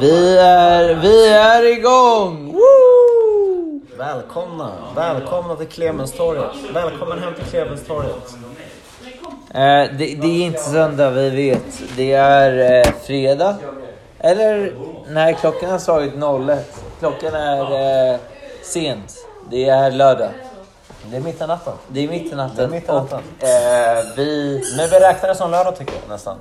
Vi är, vi är igång! Woo! Välkomna! Välkomna till Clemenstorget! Välkommen hem till Clemenstorget! Eh, det, det är inte söndag, vi vet. Det är eh, fredag. Eller? Nej, klockan har slagit 01. Klockan är eh, sent. Det är lördag. Det är mitt i natten. Det är mitt i natten. Det är mitt i natten. Och, eh, vi... Men vi räknar det som lördag tycker jag nästan.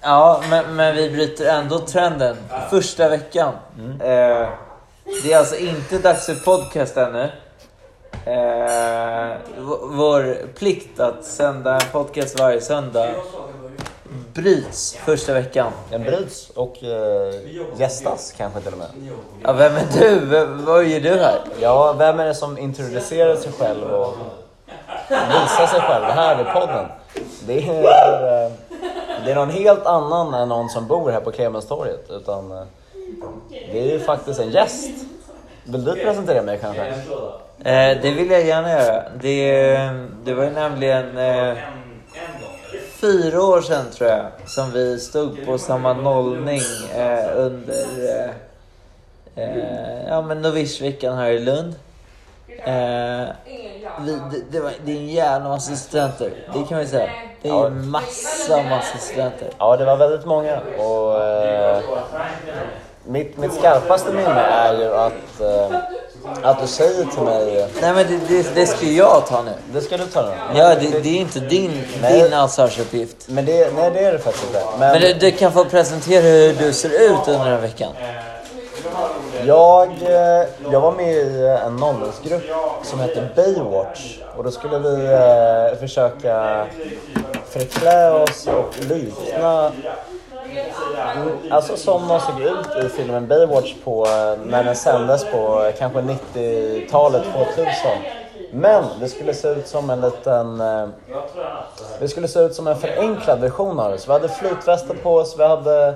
Ja, men, men vi bryter ändå trenden. Första veckan. Eh, det är alltså inte dags för podcast ännu. Eh, v- vår plikt att sända en podcast varje söndag bryts första veckan. Den bryts och eh, gästas kanske till och med. Ja, vem är du? Vem, vad gör du här? Ja, vem är det som introducerar sig själv och visar sig själv här i podden? Det är, eh, det är någon helt annan än någon som bor här på Clemenstorget. Utan eh, det är ju faktiskt en gäst. Vill du presentera mig kanske? Eh, det vill jag gärna göra. Det, det var ju nämligen eh, fyra år sedan tror jag som vi stod på samma nollning eh, under eh, eh, ja, men novishveckan här i Lund. Eh, vi, det, det, var, det är en jävla massa studenter, det kan vi säga. Det är en massa, massa studenter. Ja, det var väldigt många. Och, eh, mitt, mitt skarpaste minne är ju att, eh, att du säger till mig... Nej men det, det, det ska jag ta nu. Det ska du ta nu. Ja, det, det är inte din, din ansvarsuppgift. Men det, nej, det är det faktiskt inte. Men, Men du, du kan få presentera hur du ser ut under den här veckan. jag, eh, jag var med i en nollningsgrupp som heter Baywatch. Och då skulle vi eh, försöka förklä oss och likna Mm, Alltså som de såg ut i filmen Baywatch på, eh, när den sändes på eh, kanske 90-talet, 2000. Men det skulle se ut som en liten... eh, Det skulle se ut som en förenklad version av det. Så vi hade flytvästar på oss, vi hade,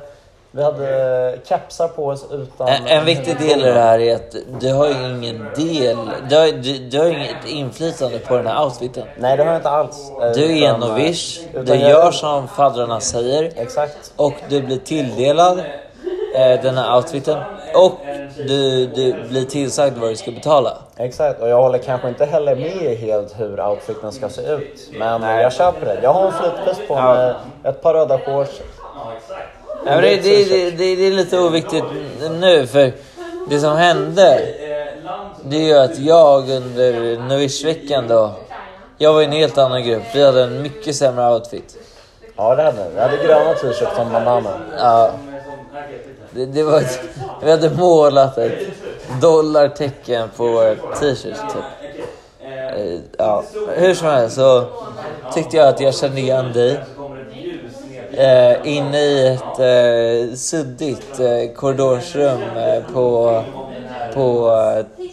vi hade eh, kapsar på oss utan... En, en viktig del i det här är att du har ju ingen del, du har, du, du har inget inflytande på den här outfiten. Nej, det har jag inte alls. eh, Du är en utan, eh, novish, utan du jag- gör som faddrarna säger Exakt. och du blir tilldelad eh, den här outfiten och du, du blir tillsagd vad du ska betala. Exakt, och jag håller kanske inte heller med helt hur outfiten ska se ut. Men eh, jag köper det. Jag har en flytväst på mig, ett par röda shorts. Ja, men det, det, det, det, det är lite oviktigt nu för det som hände det är ju att jag under novishveckan då, jag var i en helt annan grupp, vi hade en mycket sämre outfit. Ja, det hade vi. Vi hade gröna t-shirts som bananer. Ja. Det, det var ett, vi hade målat ett dollartecken på våra t-shirts typ. Eh, Ja, hur som helst så tyckte jag att jag kände igen dig. Eh, inne i ett eh, suddigt eh, korridorsrum eh, på, på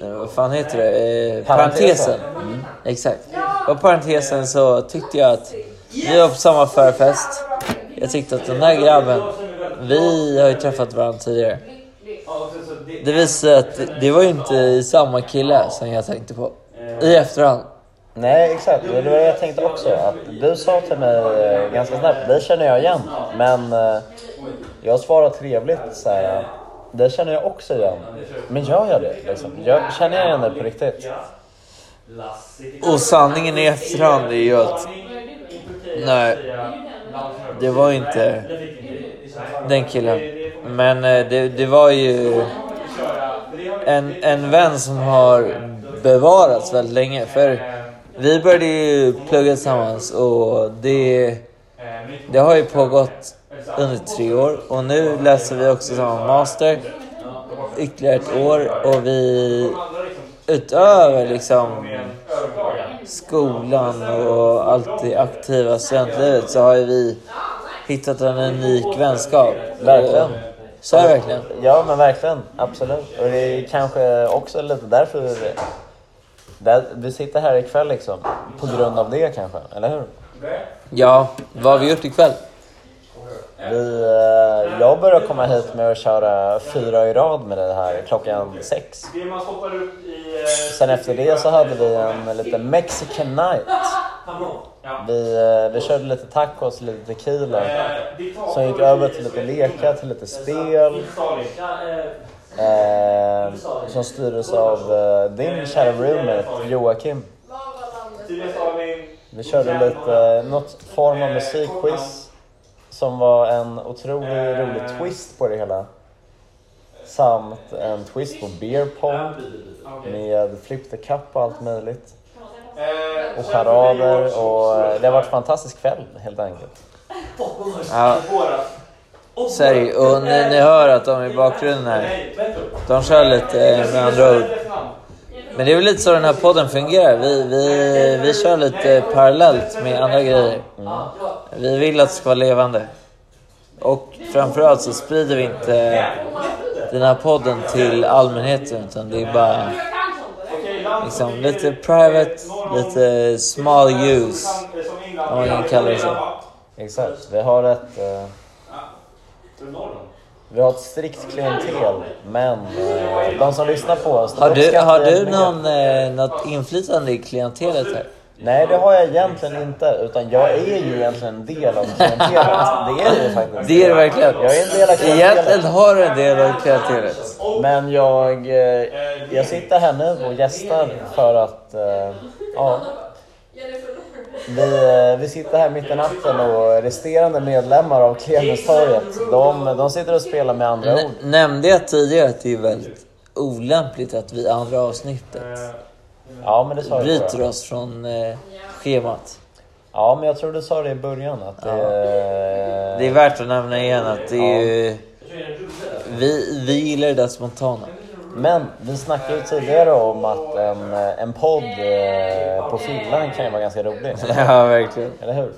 eh, vad fan heter det? Eh, parentesen. Mm, Parentesen. Exakt. Och parentesen så tyckte jag att vi var på samma förfest. Jag tyckte att den där grabben, vi har ju träffat varandra tidigare. Det visar sig att det var ju inte samma kille som jag tänkte på. I efterhand. Nej, exakt. Det var det jag tänkte också. Att du sa till mig eh, ganska snabbt, det känner jag igen. Men eh, jag svarade trevligt så här. Det känner jag också igen. Men gör jag det? Liksom? Jag, känner jag igen det på riktigt? Och sanningen i efterhand är ju att nej, det var inte den killen. Men eh, det, det var ju en, en vän som har bevarats väldigt länge. För vi började ju plugga tillsammans och det, det har ju pågått under tre år. Och nu läser vi också samma master ytterligare ett år och vi utöver liksom skolan och allt det aktiva studentlivet så har ju vi hittat en unik vänskap. Verkligen. Så är det verkligen. Ja, men verkligen. Absolut. Och det är kanske också lite därför vi, där, vi sitter här ikväll liksom. På grund av det kanske, eller hur? Ja, vad har vi gjort ikväll? Vi, eh, jag börjar komma hit med att köra fyra i rad med det här klockan sex. eh, Sen efter det så hade vi en liten mexican night. Vi, eh, vi körde lite tacos, lite tequila. Eh, Som gick över till lite lekar, till lite spel. Eh, som styrdes av eh, din kära roommate Joakim. Vi körde lite, eh, något form av musikquiz som var en otroligt rolig twist på det hela. Samt en twist på beer pong med flip the cup och allt möjligt. Eh, Och charader och eh, det har varit en fantastisk kväll helt enkelt. Ja. Serg, och ni, ni hör att de i bakgrunden här, de kör lite eh, med andra ord. Men det är väl lite så den här podden fungerar. Vi, eh, vi, vi kör lite parallellt med andra grejer. Vi vill att det ska vara levande. Och framförallt så sprider vi inte den här podden till allmänheten utan det är bara liksom, lite private, Eh, lite small use. Om man kan kalla det så. Exakt, vi har ett, eh, vi har ett strikt klientel men eh, de som lyssnar på oss de Har du, uppskattar har det du mer. någon, eh, något inflytande i klientelet här? Nej det har jag egentligen inte utan jag är ju egentligen en del av klientelet. Det är ju faktiskt. Det är det verkligen. Jag är en del av Egentligen klientelet. har du en del av klientelet. Men jag, eh, jag sitter här nu och gästar för att eh, ja, vi, eh, vi sitter här mitt i natten och resterande medlemmar av Klemenstorget de, de sitter och spelar med andra ord. N- nämnde jag tidigare att det är väldigt olämpligt att vi i andra avsnittet Ja men det sa du tror bryter jag. oss från eh, schemat. Ja men jag tror du sa det i början att eh, det, Det är värt att nämna igen att det är ju... Vi, vi gillar det där spontana. Men vi snackade ju tidigare om att en, eh, en podd eh, på fyllan kan ju vara ganska rolig. Ja, verkligen. Eller hur?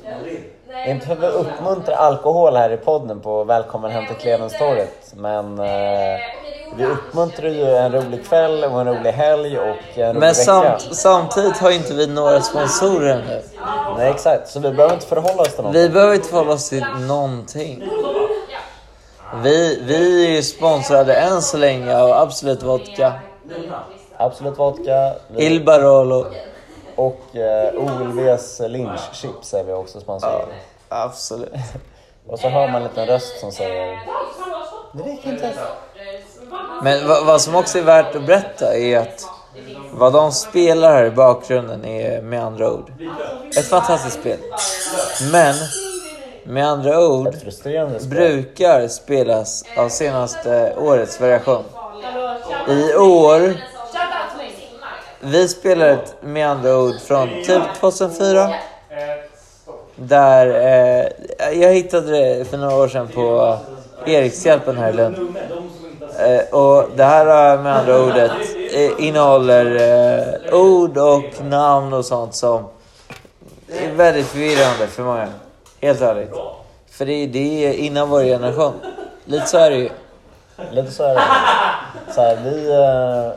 Inte för att vi Eh, uppmuntrar alkohol här i podden på Välkommen hem till Klevenstorget. Men eh, vi uppmuntrar ju en rolig kväll och en rolig helg och en rolig Men vecka. samt, samtidigt har inte vi några sponsorer ännu. Nej exakt, så vi behöver inte förhålla oss till någon. Vi behöver inte förhålla oss till någonting. Vi, vi är ju sponsrade än så länge av Absolut Vodka, Absolut Vodka vi- Il Barolo. och eh, OLVs Lynch Chips är vi också sponsorer. Absolut. Och så hör man en liten röst som Eh, säger Det räcker inte. Men vad, vad som också är värt att berätta är att vad de spelar här i bakgrunden är med andra ord ett fantastiskt spel. Men med andra ord Frustrerande spel. brukar spelas av senaste årets variation. I år, vi spelar ett med andra ord från typ 2004. Där, eh, jag hittade det för några år sedan på Erikshjälpen här i Lund. Eh, och det här eh, med andra ordet eh, innehåller eh, ord och namn och sånt som är väldigt förvirrande för många. Helt ärligt. För det, det är innan vår generation. Lite så är det ju. Lite så är det. Så här, vi, eh,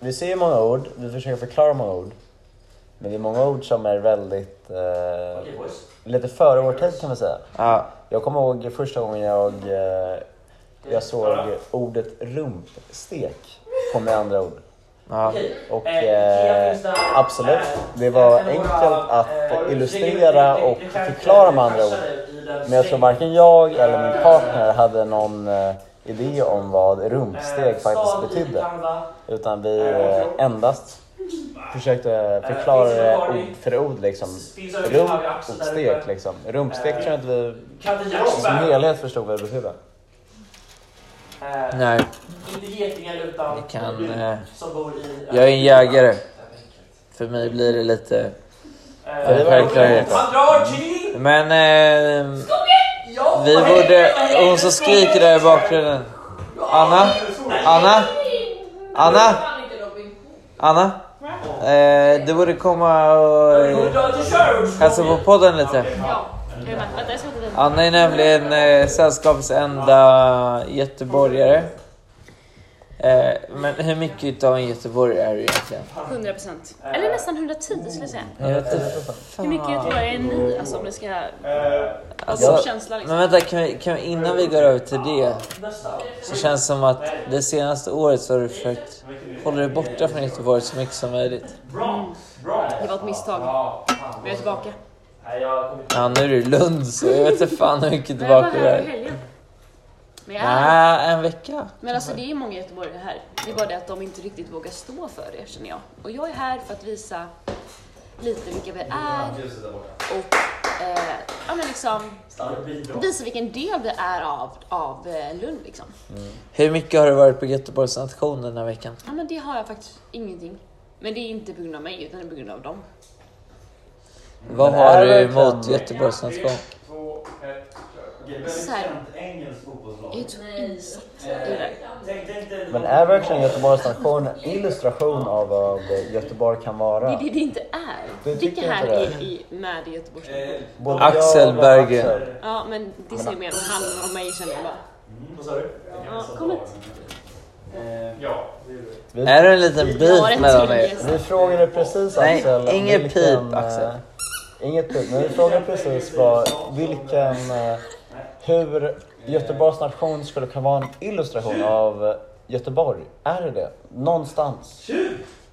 vi ser ju många ord, vi försöker förklara många ord. Men det är många ord som är väldigt... Eh, lite före vår tid kan man säga. Ja, Jag kommer ihåg första gången jag, eh, jag såg ordet rumpstek på med andra ord. ja. Och eh, absolut, Eh, det var eh, enkelt att illustrera och förklara med andra ord. Men jag tror varken jag eller min partner hade någon eh, idé om vad Eh, rumpsteg faktiskt betydde. Utan vi eh, endast försökte förklara det ord för ord liksom. Rumpsteg liksom. Rumpsteg tror jag inte vi som helhet förstod vad det betydde. Nej, Eh, Inte getingar utan jag kan... Eh, som bor i... jag är en jägare. För mig blir det lite... Eh, Det var Självklarhet. Han drar till! Men... Eh, Ja, vi vad händer? borde... Vad händer? Hon som skriker där i bakgrunden. Anna? Anna? Anna? Anna? Eh, du borde komma och Hon eh, drar till Sherwood. hälsa på podden lite. Jag är med. Vänta, jag ska inte dit. Anna är nämligen eh, sällskapets enda göteborgare. Eh, men hur mycket av en göteborgare är du egentligen? 100 procent. Eller nästan 110 skulle jag säga. Jag vet inte Hur fan. mycket Göteborg är ni? Alltså om ni ska... Alltså Ah. Ja. känsla liksom. Men vänta, kan vi, kan vi, innan vi går över till det så känns det som att det senaste året så har du försökt hålla dig borta från Göteborg så mycket som möjligt. Det var ett misstag. Men jag är tillbaka. Ja, nu är du i Lund så jag vet inte fan hur mycket Men jag var tillbaka du här i är. helgen. Men, jag är här. Nej, en vecka. men alltså det är många göteborgare här. Det är bara det att de inte riktigt vågar stå för det känner jag. Och jag är här för att visa lite vilka vi är och eh, ja, men liksom, visa vilken del vi är av, av eh, Lund liksom. Hur mycket har du varit på Göteborgs nation den här veckan? Ja men det har jag faktiskt ingenting. Men det är inte på grund av mig utan det är på grund av dem. Vad Men är har du det emot verkligen- Göteborgs nation? Så här. Jag är så insatt i det där. Men är verkligen Göteborgs station en illustration av vad Göteborg kan Det vara? är det det inte är. Du Vilka tycker här inte det? är i, med i Göteborgs Eh. Både Axel jag och Berggren. Axel. Ja men det ser mer handlar om mig känner jag bara. Mm. Ja, kom hit. Eh, Vi, Är det en liten beef mellan er? vi frågade precis Nej, Axel... inget pip, eh, Axel. Inget pip, men vi frågade precis vad, vilken... eh, Hur Göteborgs nation skulle kunna vara en illustration av eh, Göteborg. Är det det? Någonstans?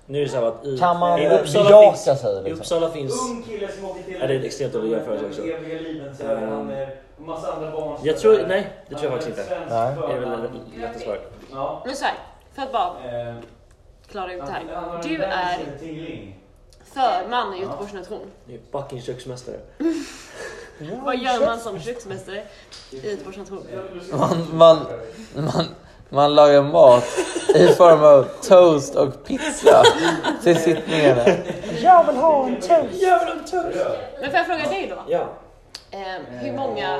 Nu är det så här att i, Kan man i eh, Uppsala bejaka finns... sig I liksom? Uppsala finns... Ja, det är en extremt dålig jämförelse också. Jag tror... Nej, det tror jag faktiskt inte. Nej. Det är väl det lätta svaret. Men såhär, för att bara klara ut det Eh, här. Du är förman i Göteborgs nation. Ni är fucking köksmästare. Vad gör man som köksmästare i Göteborgs nation? Man, man, man, man lagar mat i form av toast och pizza till sittningarna. Jag vill ha en toast! Men får jag fråga dig då? Ja. Eh, hur många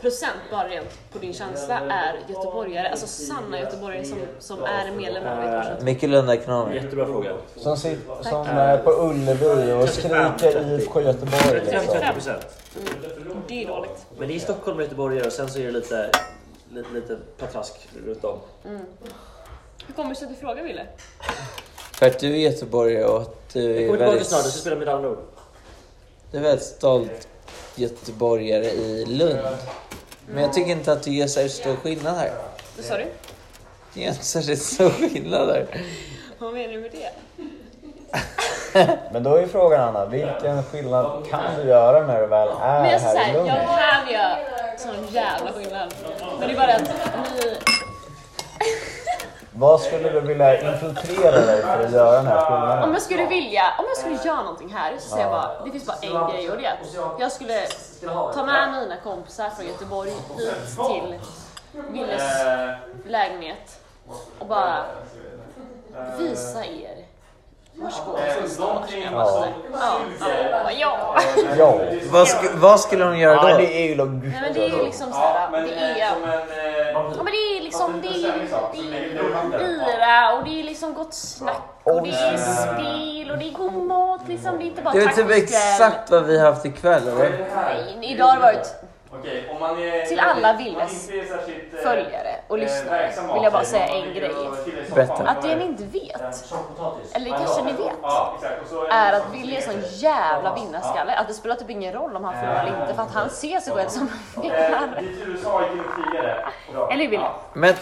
procent, bara rent på din känsla, är göteborgare? Alltså sanna göteborgare som, som är medlemmar av Göteborgs nation? Mycket Lunda ekonomer. Jättebra fråga. Som, sitter, som eh, på Ullevi och skriker IFK Göteborg liksom. 35-30%. Mm. Det är dåligt. Men det är Stockholm och Göteborg och sen så är det lite, lite, lite patrask runt om. Hur kommer det sig att du frågar Wille? För att du är göteborgare och att du Jag är kommer tillbaka väldigt, snart och ska spela mitt andra ord. du är väldigt stolt göteborgare i Lund. Men jag tycker inte att du gör särskilt stor skillnad här. Vad sa du? Du gör inte särskilt stor skillnad här. Vad menar du med det? Men då är frågan Anna, vilken skillnad kan du göra när du väl Men är jag, så här i här, Lund? jag kan göra sån jävla skillnad. Men det är bara att ni... Vad skulle du vilja infiltrera dig för att göra den här Om skillnaden? jag skulle vilja, om jag skulle göra någonting här så säger jag bara, det finns bara en grej och det är att jag skulle ta med mina kompisar från Göteborg hit till Willes Eh, lägenhet och bara visa er varsågod som stad. Ja, ja, ja. ja. Ja. Vad, sk- vad skulle de göra Ja, då? det är ju logik. Nej men det är ju liksom såhär, det är eh, Ja men det är liksom, det är, det är bira och det är liksom gott snack och det är spel och det är god mat liksom. Det är inte bara Det är väl typ tacokväll. exakt vad vi har haft ikväll eller? Nej, Idag har det varit till alla Willes eh, följare och lyssnare vill jag bara säga en grej. Berätta. Att det ni inte vet, eller kanske ni vet, är att Wille är sån jävla vinnarskalle att det spelar typ ingen roll om han förlorar eller inte för att han ser sig själv som Eh, en vinnare. Eller Wille? Men...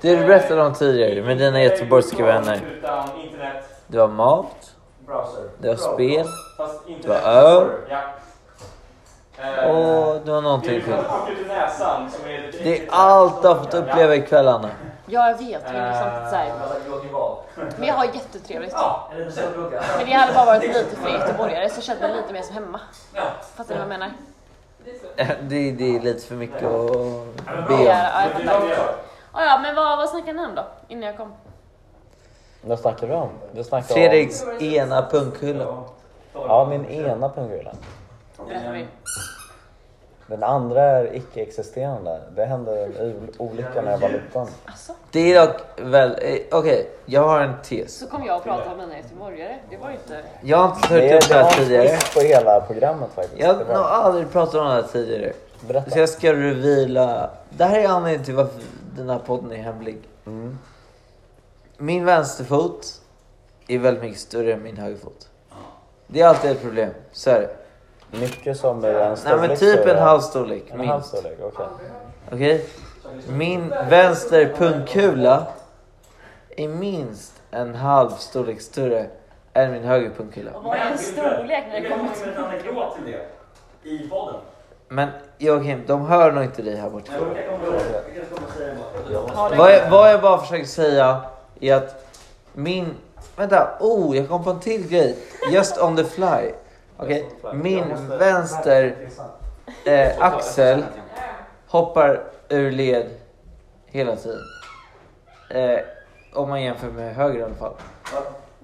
Det du berättade om tidigare med dina Eh, göteborgska vänner. Utan internet, Det var mat, browser. det var spel Fast internet. Det var öl. Ja. Eh, och det var Det är någonting till. lite kort ut i näsan som är lite Eh, Det är allt du har fått uppleva ikväll Anna. Ja jag vet, men det är samtidigt såhär. Vi har jättetrevligt. Men det hade bara varit lite fler göteborgare så kände jag lite mer som hemma. Fattar ni vad jag menar? Det, det är lite för mycket att Ja, be om. ja, jag fattar. Ja, ja, men vad, vad snackade ni om då? Innan jag kom. Vad snackar vi om? Vi snackar Fredriks ena punkhylla. om... Ja, min ena punktgula. Berätta vi. Den andra är icke-existerande. Det hände en ol- olycka när jag var liten. Alltså, Det är dock väl... eh, Okej, jag har en tes. så kom jag och pratade om mina göteborgare. Det var ju inte... Jag har inte Det, hört upp typ det det var här en tidigare. twist på hela programmet faktiskt. Jag har Det var- nog aldrig pratat om det här tidigare. Berätta. Så jag ska reveala. Det här är anledningen till varför den här podden är hemlig. Mm. Min vänsterfot är väldigt mycket större än min högerfot. Det är alltid ett problem. Så är det. Mycket som är en Nej storlek men typ en större. halvstorlek En halv minst. storlek, okej. Okej? Min vänster pungkula är minst en halv storlek större än min höger pungkula. Vad är en storlek när det kommer till... en anekdot till det i podden. Men Joakim, de hör nog inte dig här borta. Nej, men vi kan komma ihåg- vi kan komma och säga det bara. Ja, det- Vad jag, vad jag bara försöker säga är att min... Vänta, oh, jag kom på en till grej. Just on the fly. Okej, min vänster eh, axel hoppar ur led hela tiden. Eh, om man jämför med höger i alla fall.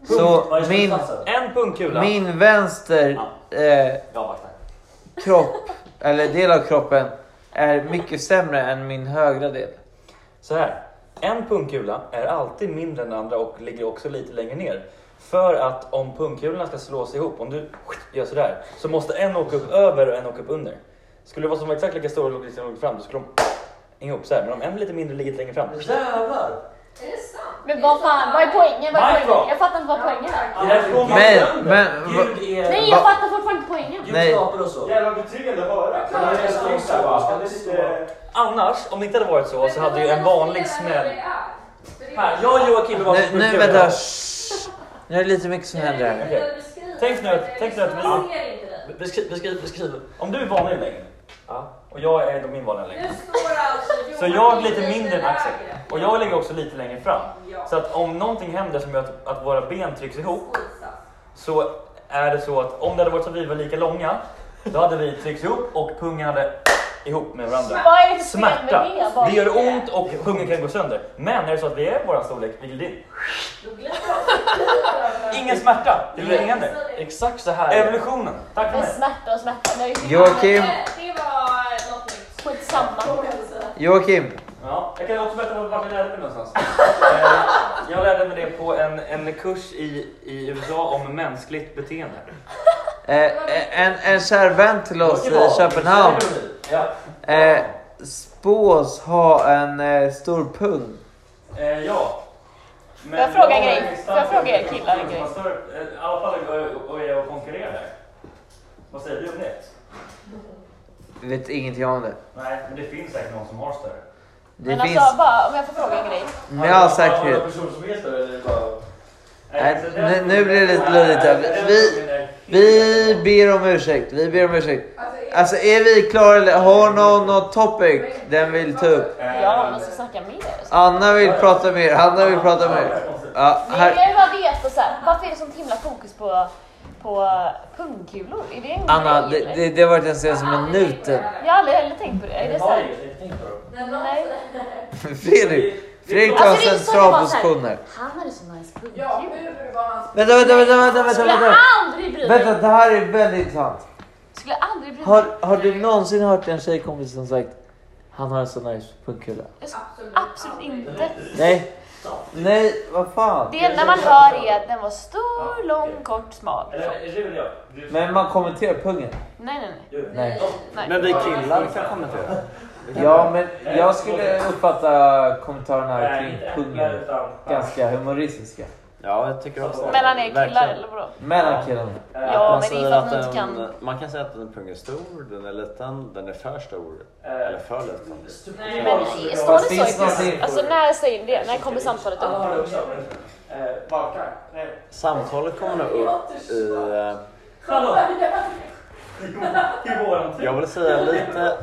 Så min, En pungkula. min vänster eh, Jag avvaktar. kropp, eller del av kroppen, är mycket sämre än min högra del. Så här. En pungkula är alltid mindre än den andra och ligger också lite längre ner. För att om pungkulorna ska slås ihop, om du gör sådär, så måste en åka upp över och en åka upp under. Skulle det vara som var exakt lika stora och lite längre fram, då skulle de hänga ihop så här. Men om en är lite mindre ligger lite längre fram. Jävlar! Men vad fan, vad är poängen? Vad är Micro. poängen? Jag fattar inte vad poängen är. Det är därifrån man Men, vänder. men... va- Ljud är... Nej, jag fattar fortfarande inte poängen. Nej. Ljud skapar och så. Jävla betryggande att höra. Det är helt snyggt där bara. Det är lite- Annars, om det inte hade varit så, så hade ju en vanlig smäll... Här, jag och Joakim är Nu, varsin nu pungkula. vänta, shh. Nu är det lite mycket som händer här. Tänk nu att- tänk nu att vi- Jag ser inte dig. Beskriv, beskriv, beskriv. Om du är vanlig längd och jag är då min vanliga längd. Nu står alltså Så jag är Johan lite mindre än Axel. lägre. Och jag ligger också lite längre fram. Ja. Så att om någonting händer som gör att, att våra ben trycks ihop Skitsam. så är det så att om det hade varit så att vi var lika långa då hade vi tryckts ihop och pungen hade ihop med varandra. Vad är det för fel Smärta! med det? Bara? Det gör ont och pungen kan gå sönder. Men är det så att vi är våran storlek, vilket är din, Då glider jag. ingen smärta! Det blir Nej. inget händer. Exakt så här. Evolutionen! Tack för Men mig! smärta och smärta, det är ju Joakim, Det var något nytt. skitsamma. får jag säga. Joakim. Ja, jag kan också berätta om vart jag lärde mig någonstans. Eh, jag lärde mig det på en, en kurs i, i USA om mänskligt beteende. Eh, en, en kär vän till oss i Köpenhamn Ja. eh, spås ha en eh, stor pung. Eh, ja. Men Får jag fråga en har grej? exakt- Får jag fråga er killar en grej? Vad står det? Eh, I alla fall och- och är och konkurrerar där. Vad säger du om det? Vet ingenting om det. Nej, men det finns säkert någon som har större. Det Men finns alltså, bara, om jag får fråga en grej. med all Har säkerhet. du personer som är större eller bara... Nej, nu- nu blir det lite luddigt här. Vi- Vi ber om ursäkt. Vi ber om ursäkt. Alltså är vi klara eller har någon något topic den vill ta upp? Eh, Ja, man ska snacka mer. Anna vill prata mer. Hanna vill prata mer. Ja, Men jag här. vill bara veta så här, varför är det sånt himla fokus på, på pungkulor? Är det en Anna, grej, det, eller? det, det har varit den senaste minuten. Jag har aldrig heller tänkt på det. Är det så här? När någon Nej. Fredrik, Fredrik tar en Alltså, det är inte så att central jag bara så här, position här. Han hade så nice pungkulor. Ja, hur var hans... Vänta, vänta, vänta, vänta, vänta, Skulle vänta. aldrig bry mig. Vänta, det här är väldigt intressant. Skulle aldrig bry mig. Har, har du någonsin hört en tjejkompis som sagt han har en sån nice pungkula? Absolut. Absolut inte. Nej, nej, vad fan. Det enda man hör är att den var stor, lång, kort, smal. Nej, Men man kommenterar pungen. nej, nej. Nej. nej. Men vi killar kan kommentera. Ja, men jag skulle uppfatta kommentarerna här kring pungen ganska humoristiska. Ja, jag tycker också Mellan er killar eller vadå? Mellan killarna. Ja, men det är säger för att ni att inte en, kan. man kan säga att en pung är stor, den är liten, den är för stor eller för liten. Nej, Men står Fast det finns så i någonting- programmet? Alltså när säger ni det? När kommer samtalet Alla upp? har det också. Eh, Balkan. Nej. Samtalet kommer nog upp i, eh, Hallå! I våran tid. jag vill säga lite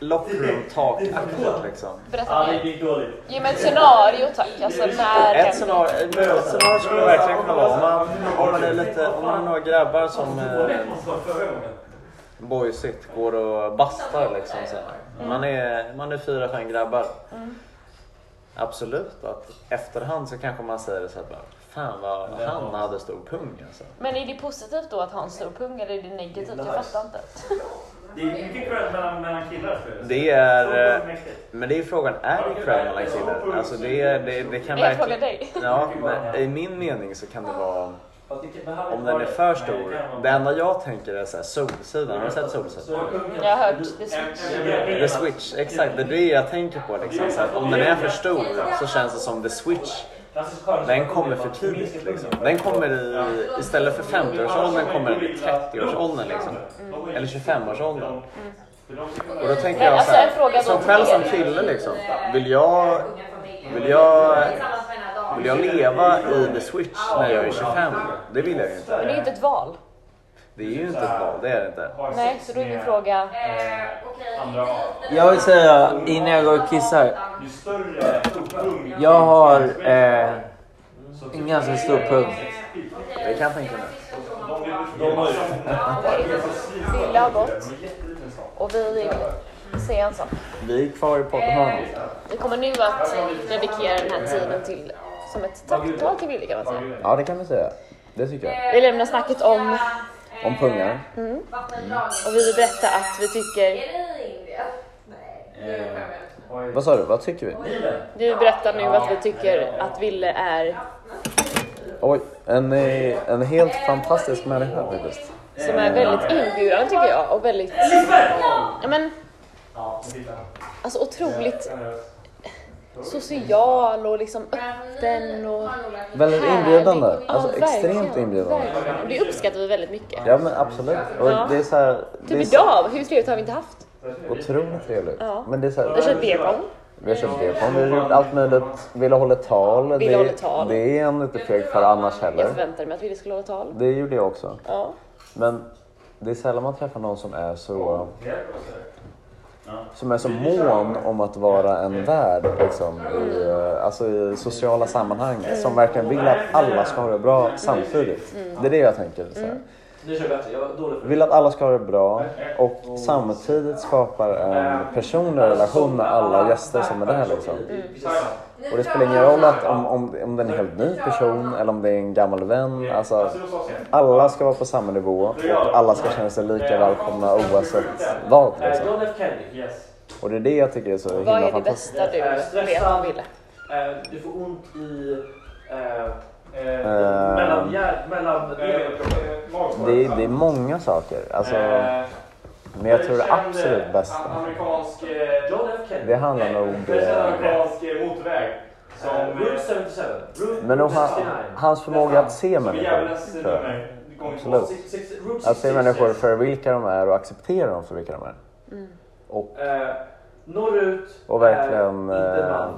lockroom talk-aktigt liksom. Berätta Ja, det mer. gick dåligt. Ge mig ett scenario tack. Alltså när Ett händer scenario, ett scenario skulle verkligen kunna vara om man, om man är lite, om man är några grabbar som eh, Förra gången. boysigt går och bastar liksom. Så här. Man, är, man är fyra, fem grabbar. Mm. Absolut att efterhand så kanske man säger så här bara, fan vad han hade stor pung alltså. Men är det positivt då att ha en stor pung eller är det negativt? Jag fattar inte. Det är mycket cred mellan, mellan killar. tror jag. Det är, Så eh, mäktigt. men det är frågan, är det cred mellan killar? Alltså det, är- det, det kan Men jag frågar verkligen... dig. Ja, men i min mening så kan det vara Om den är för stor. Det enda jag tänker är så här, Solsidan. Har du sett Solsidan? Jag har hört det switch. The Switch, exakt. Det är det jag tänker på. Liksom. Så att om den är för stor så känns det som The Switch. Den kommer för tidigt. Liksom. Den kommer i, istället för 50-årsåldern kommer den i 30-årsåldern. Liksom. Eller 25-årsåldern. Och då tänker jag så Alltså, en fråga här, då som till själv er. som kille liksom. Vill jag, vill jag, vill jag leva i The Switch när jag är 25? Det vill jag ju inte. Men det är inte ett val. Det är ju inte ett val, det är det inte. Nej, så då är min fråga. Jag vill säga innan jag går och kissar. Jag har eh, Alltså, en ganska stor pung. Det kan jag tänka mig. Ville har gått och vi vill se en sak. Vi är kvar i Eh, podden. Vi kommer nu att dedikera den här tiden till som ett tacktal till Ville kan man säga. Ja, det kan vi säga. Det tycker jag. Vi lämnar snacket om Mm. Om pungar. och vi vill berätta att vi tycker, Eh. Vad sa du? Vad tycker vi? du berättar nu att vi tycker att Ville är, Oj, en, eh, en helt fantastisk människa faktiskt. som är väldigt inbjudande tycker jag och väldigt, ja men, alltså otroligt social och liksom öppen och Väldigt inbjudande. Alltså extremt verkligen, inbjudande. verkligen. Och det uppskattar vi väldigt mycket. Ja men absolut. Och Ja. det är så här, det Typ är så idag, hur trevligt har vi inte haft? otroligt trevligt. Ja. Men det är så Vi har här, kört beerpong. vi har köpt det vi har gjort allt möjligt. Ville hålla tal. Ville Det- håller tal. Det är han inte feg för annars Jag heller. förväntade mig att vi skulle hålla tal. Det gjorde jag också. Ja. Men det är sällan man träffar någon som är så som är så mån om att vara en värd liksom, Mm. i, eh, alltså, i sociala sammanhang som verkligen vill att alla ska ha det bra samtidigt. Mm. Det är det jag tänker. Så här. Nu kör jag bättre, jag var dålig för Vill att alla ska ha det bra och samtidigt skapar en personlig relation med alla gäster som är där. Liksom. Och det spelar ingen roll att om, om, om det är en helt ny person eller om det är en gammal vän. Alltså, alla ska vara på samma nivå och alla ska känna sig lika välkomna oavsett vad. Eh, Liksom. John F Kennedy. Yes. Och det är det jag tycker är så Vad himla är det fantastiskt. bästa du vet om Ville? Eh, Du får ont i... eh, Eh, Mellan... hjär- Mellan... Eh, Det är, det är många saker. Alltså, men jag tror det absolut bästa. Amerikansk... eh, John F Kennedy. Det handlar nog... eh, Amerikansk eh, motorväg. Eh, Som... Route eh, 77. Route Men nog han, 69. hans förmåga att se Som människor. djävulens Tror jag. nummer. Det kommer inte Absolut. på. Six- six- Route Att se människor 66. för vilka de är och acceptera dem för vilka de är. Mm. Eh, Norrut. Och verkligen, eh, Inte en eh, man.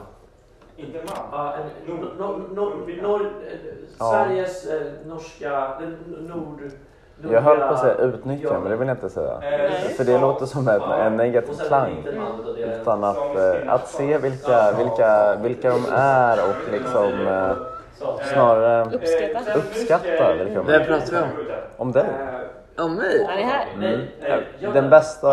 Inte en man. Ja, en- nor- nor- nor- nor- eh, Ja. Sveriges eh, norska... den Nord... eh, Jag höll på att säga nordliga- utnyttja, men det vill jag inte säga. Eh, För det låter som en, en negativ Och sen klang. inte en man, utan det är- Utan att, eh, att se vilka, vilka, vilka de är och liksom eh, snarare Uppskatta. Eh, uppskatta vilka de är. pratar vi om? Om dig. Om mig? Han är här. Nej, nej, jag- Den bästa,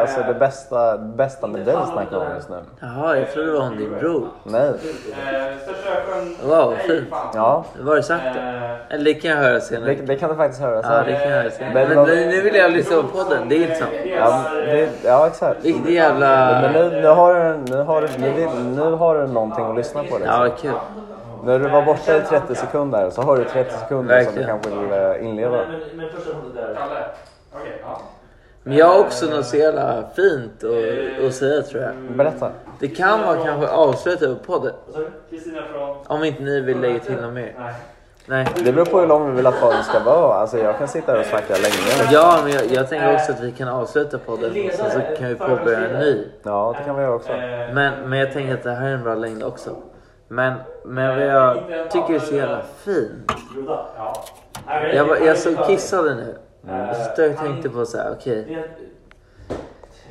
alltså det bästa, bästa med dig snackar vi om just nu. Jaha, jag trodde det var om din bror. Nej. eh, Största öknen... Wow, vad fint. Ja, Var det Eh, sagt det? Eller det kan jag höra det, senare. det kan du faktiskt höra Ja, sen. det kan jag höra senare. Men Men vad- nu, nu vill jag lyssna på podden, det är intressant. Eh, Ja, men det, ja exakt. Riktig jävla... Men nu, nu, har du, nu, har du, nu, vill- nu har du någonting att lyssna på. Liksom. Ja, kul. När du var borta i 30 sekunder så har du 30 sekunder som du Verkligen. kanske vill eh, inleda. Men, men första hållet där. Kalle. Okej, ja. Men jag har också något så jävla fint Eh, att, att säga tror jag. Mm. Berätta. Det kan vara kanske avslutet på podden. Vad sa du? Kristina från... Om inte ni vill lägga till något mer. Nej. Nej. Det beror på hur lång vi vill att podden ska vara. Alltså jag kan sitta här och snacka länge. Ja, men jag, jag tänker också att vi kan avsluta podden och sen så kan vi påbörja en ny. Ja, det kan vi göra också. eh, Men, men jag tänker att det här är en bra längd också. Men, men vad jag tycker är så jävla fint. Groda. Ja. Nej, men- Jag, var- jag så kissade nu. Så jag tänkte på så här, okej.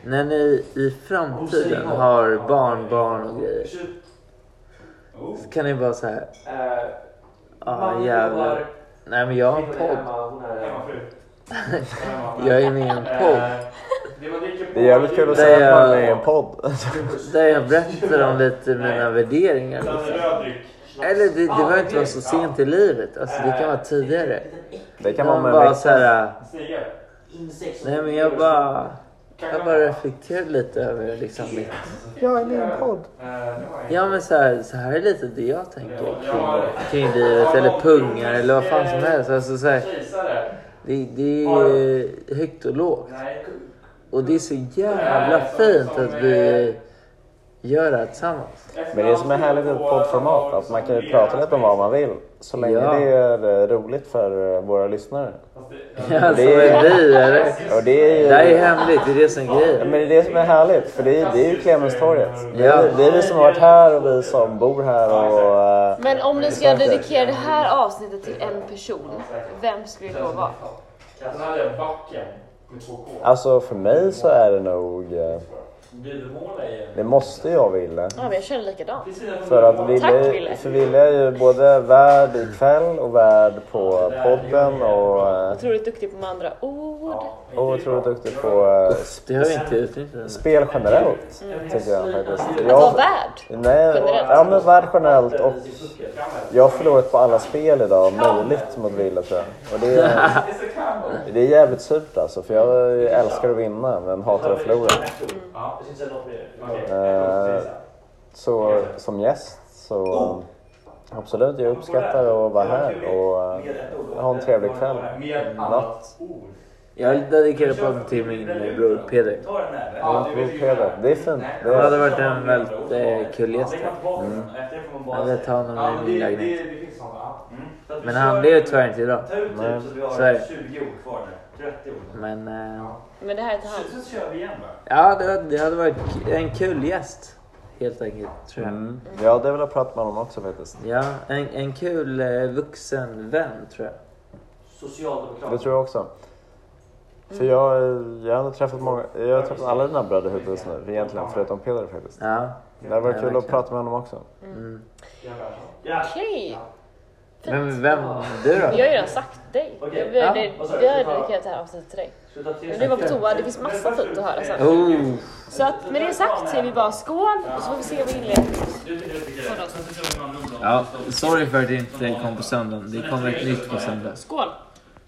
När ni i framtiden har barn, barn och grejer. Så kan ni bara så här, Eh, ah man jävlar. jobbar, Nej men jag har en kvinnan är podd. hemma, hon är- Hemmafru. Jag är med i en podd. Eh, det man dricker på- Det är jävligt kul att Det säga att är- man är i en podd. Där jag berättar om lite mina värderingar. Utan Liksom. röd dryck. Eller det, det behöver inte vara så sent i livet. Alltså det kan vara tidigare. Det kan Kan man vara med bara en såhär, Snigel. nej men jag bara... Jag bara reflekterar lite över liksom mitt... Jag är med i en podd. Eh, Ja men så här, så här är lite det jag tänker kring, kring livet eller pungar eller vad fan som helst. Alltså, så här, det, det är högt och lågt. Och det är så jävla fint att vi gör det här tillsammans. Men det som är härligt med ett poddformat att man kan ju prata lite om vad man vill så länge Ja. det är eh, roligt för eh, våra lyssnare. Ja, som Alltså, är vi eller? Och det är ju... Det här är hemligt, det är det som är Ja, grejen. Men det är det som är härligt, för det är, det är ju Clemenstorget. Det, Ja. är- det är vi som har varit här och vi som bor här och... eh, Men om ni ska dedikera det här avsnittet till en person, vem skulle det då vara? Den hade jag backen med två K. Alltså för mig så är det nog... eh, Bilmåla i en. Det måste jag vilja. Ja, men jag känner likadant. För att Tack, Ville, Ville. för Ville är ju både värd ikväll och värd på podden och eh, Otroligt duktig på de andra ord. och otroligt duktig på eh, Det har vi inte utnyttjat. spel generellt. Tycker jag faktiskt. Att vara Jag, värd. nej, Generellt. ja men värd generellt och jag har förlorat på alla spel idag möjligt mot Ville tror jag. Och det, är- det är jävligt surt alltså för jag älskar att vinna men hatar att förlora. Ja, jag syns något mer. Okej. Eh, Så som gäst så eh, absolut, jag uppskattar att vara här och eh, ha en trevlig kväll. Med Natt. ord. Jag dedikerar podden till min bror Peder. Ta den här. Ja, god fredag. Det är fint. Det Han är... hade varit en väldigt eh, kul gäst. här. Mm. Efter får man bara Jag vet Ja, honom men i min det, det, lägenhet. det finns sådana. ja. Så att vi Men kör- han blev tyvärr inte idag. Ta ut typ så att vi så är det. har 20 ord kvar nu. 30 ord. Men eh, Men det här är till han. Så, så kör vi igen bara. ja, det, var- det hade varit k- en kul gäst. Helt enkelt, tror jag. Mm. Jag hade velat prata med honom också faktiskt. Ja, en, en kul eh, vuxen vän, tror jag. Det Socialdemokraterna. tror jag också. För jag, jag har ändå träffat många, jag har träffat alla dina bröder hittills nu egentligen, förutom Peder faktiskt. Ja. Det hade varit Ja, kul att verkligen. prata med honom också. Mm. Ja. Okej. Vem, vem? Du då? Jag har ju redan sagt dig. Okej. Vi har Ja. vi har dedikerat det här avsnittet till dig. Ska vi ta tre Men du var på stycken? toa, det finns massa fint att höra sen. Oh, Så att med det sagt säger vi bara skål och så får vi se vad inledningen Du tycker du tycker det. Sen så kör vi med andra ord. ja, sorry för att det inte kom på söndagen. Det kommer ett nytt på söndag. Skål!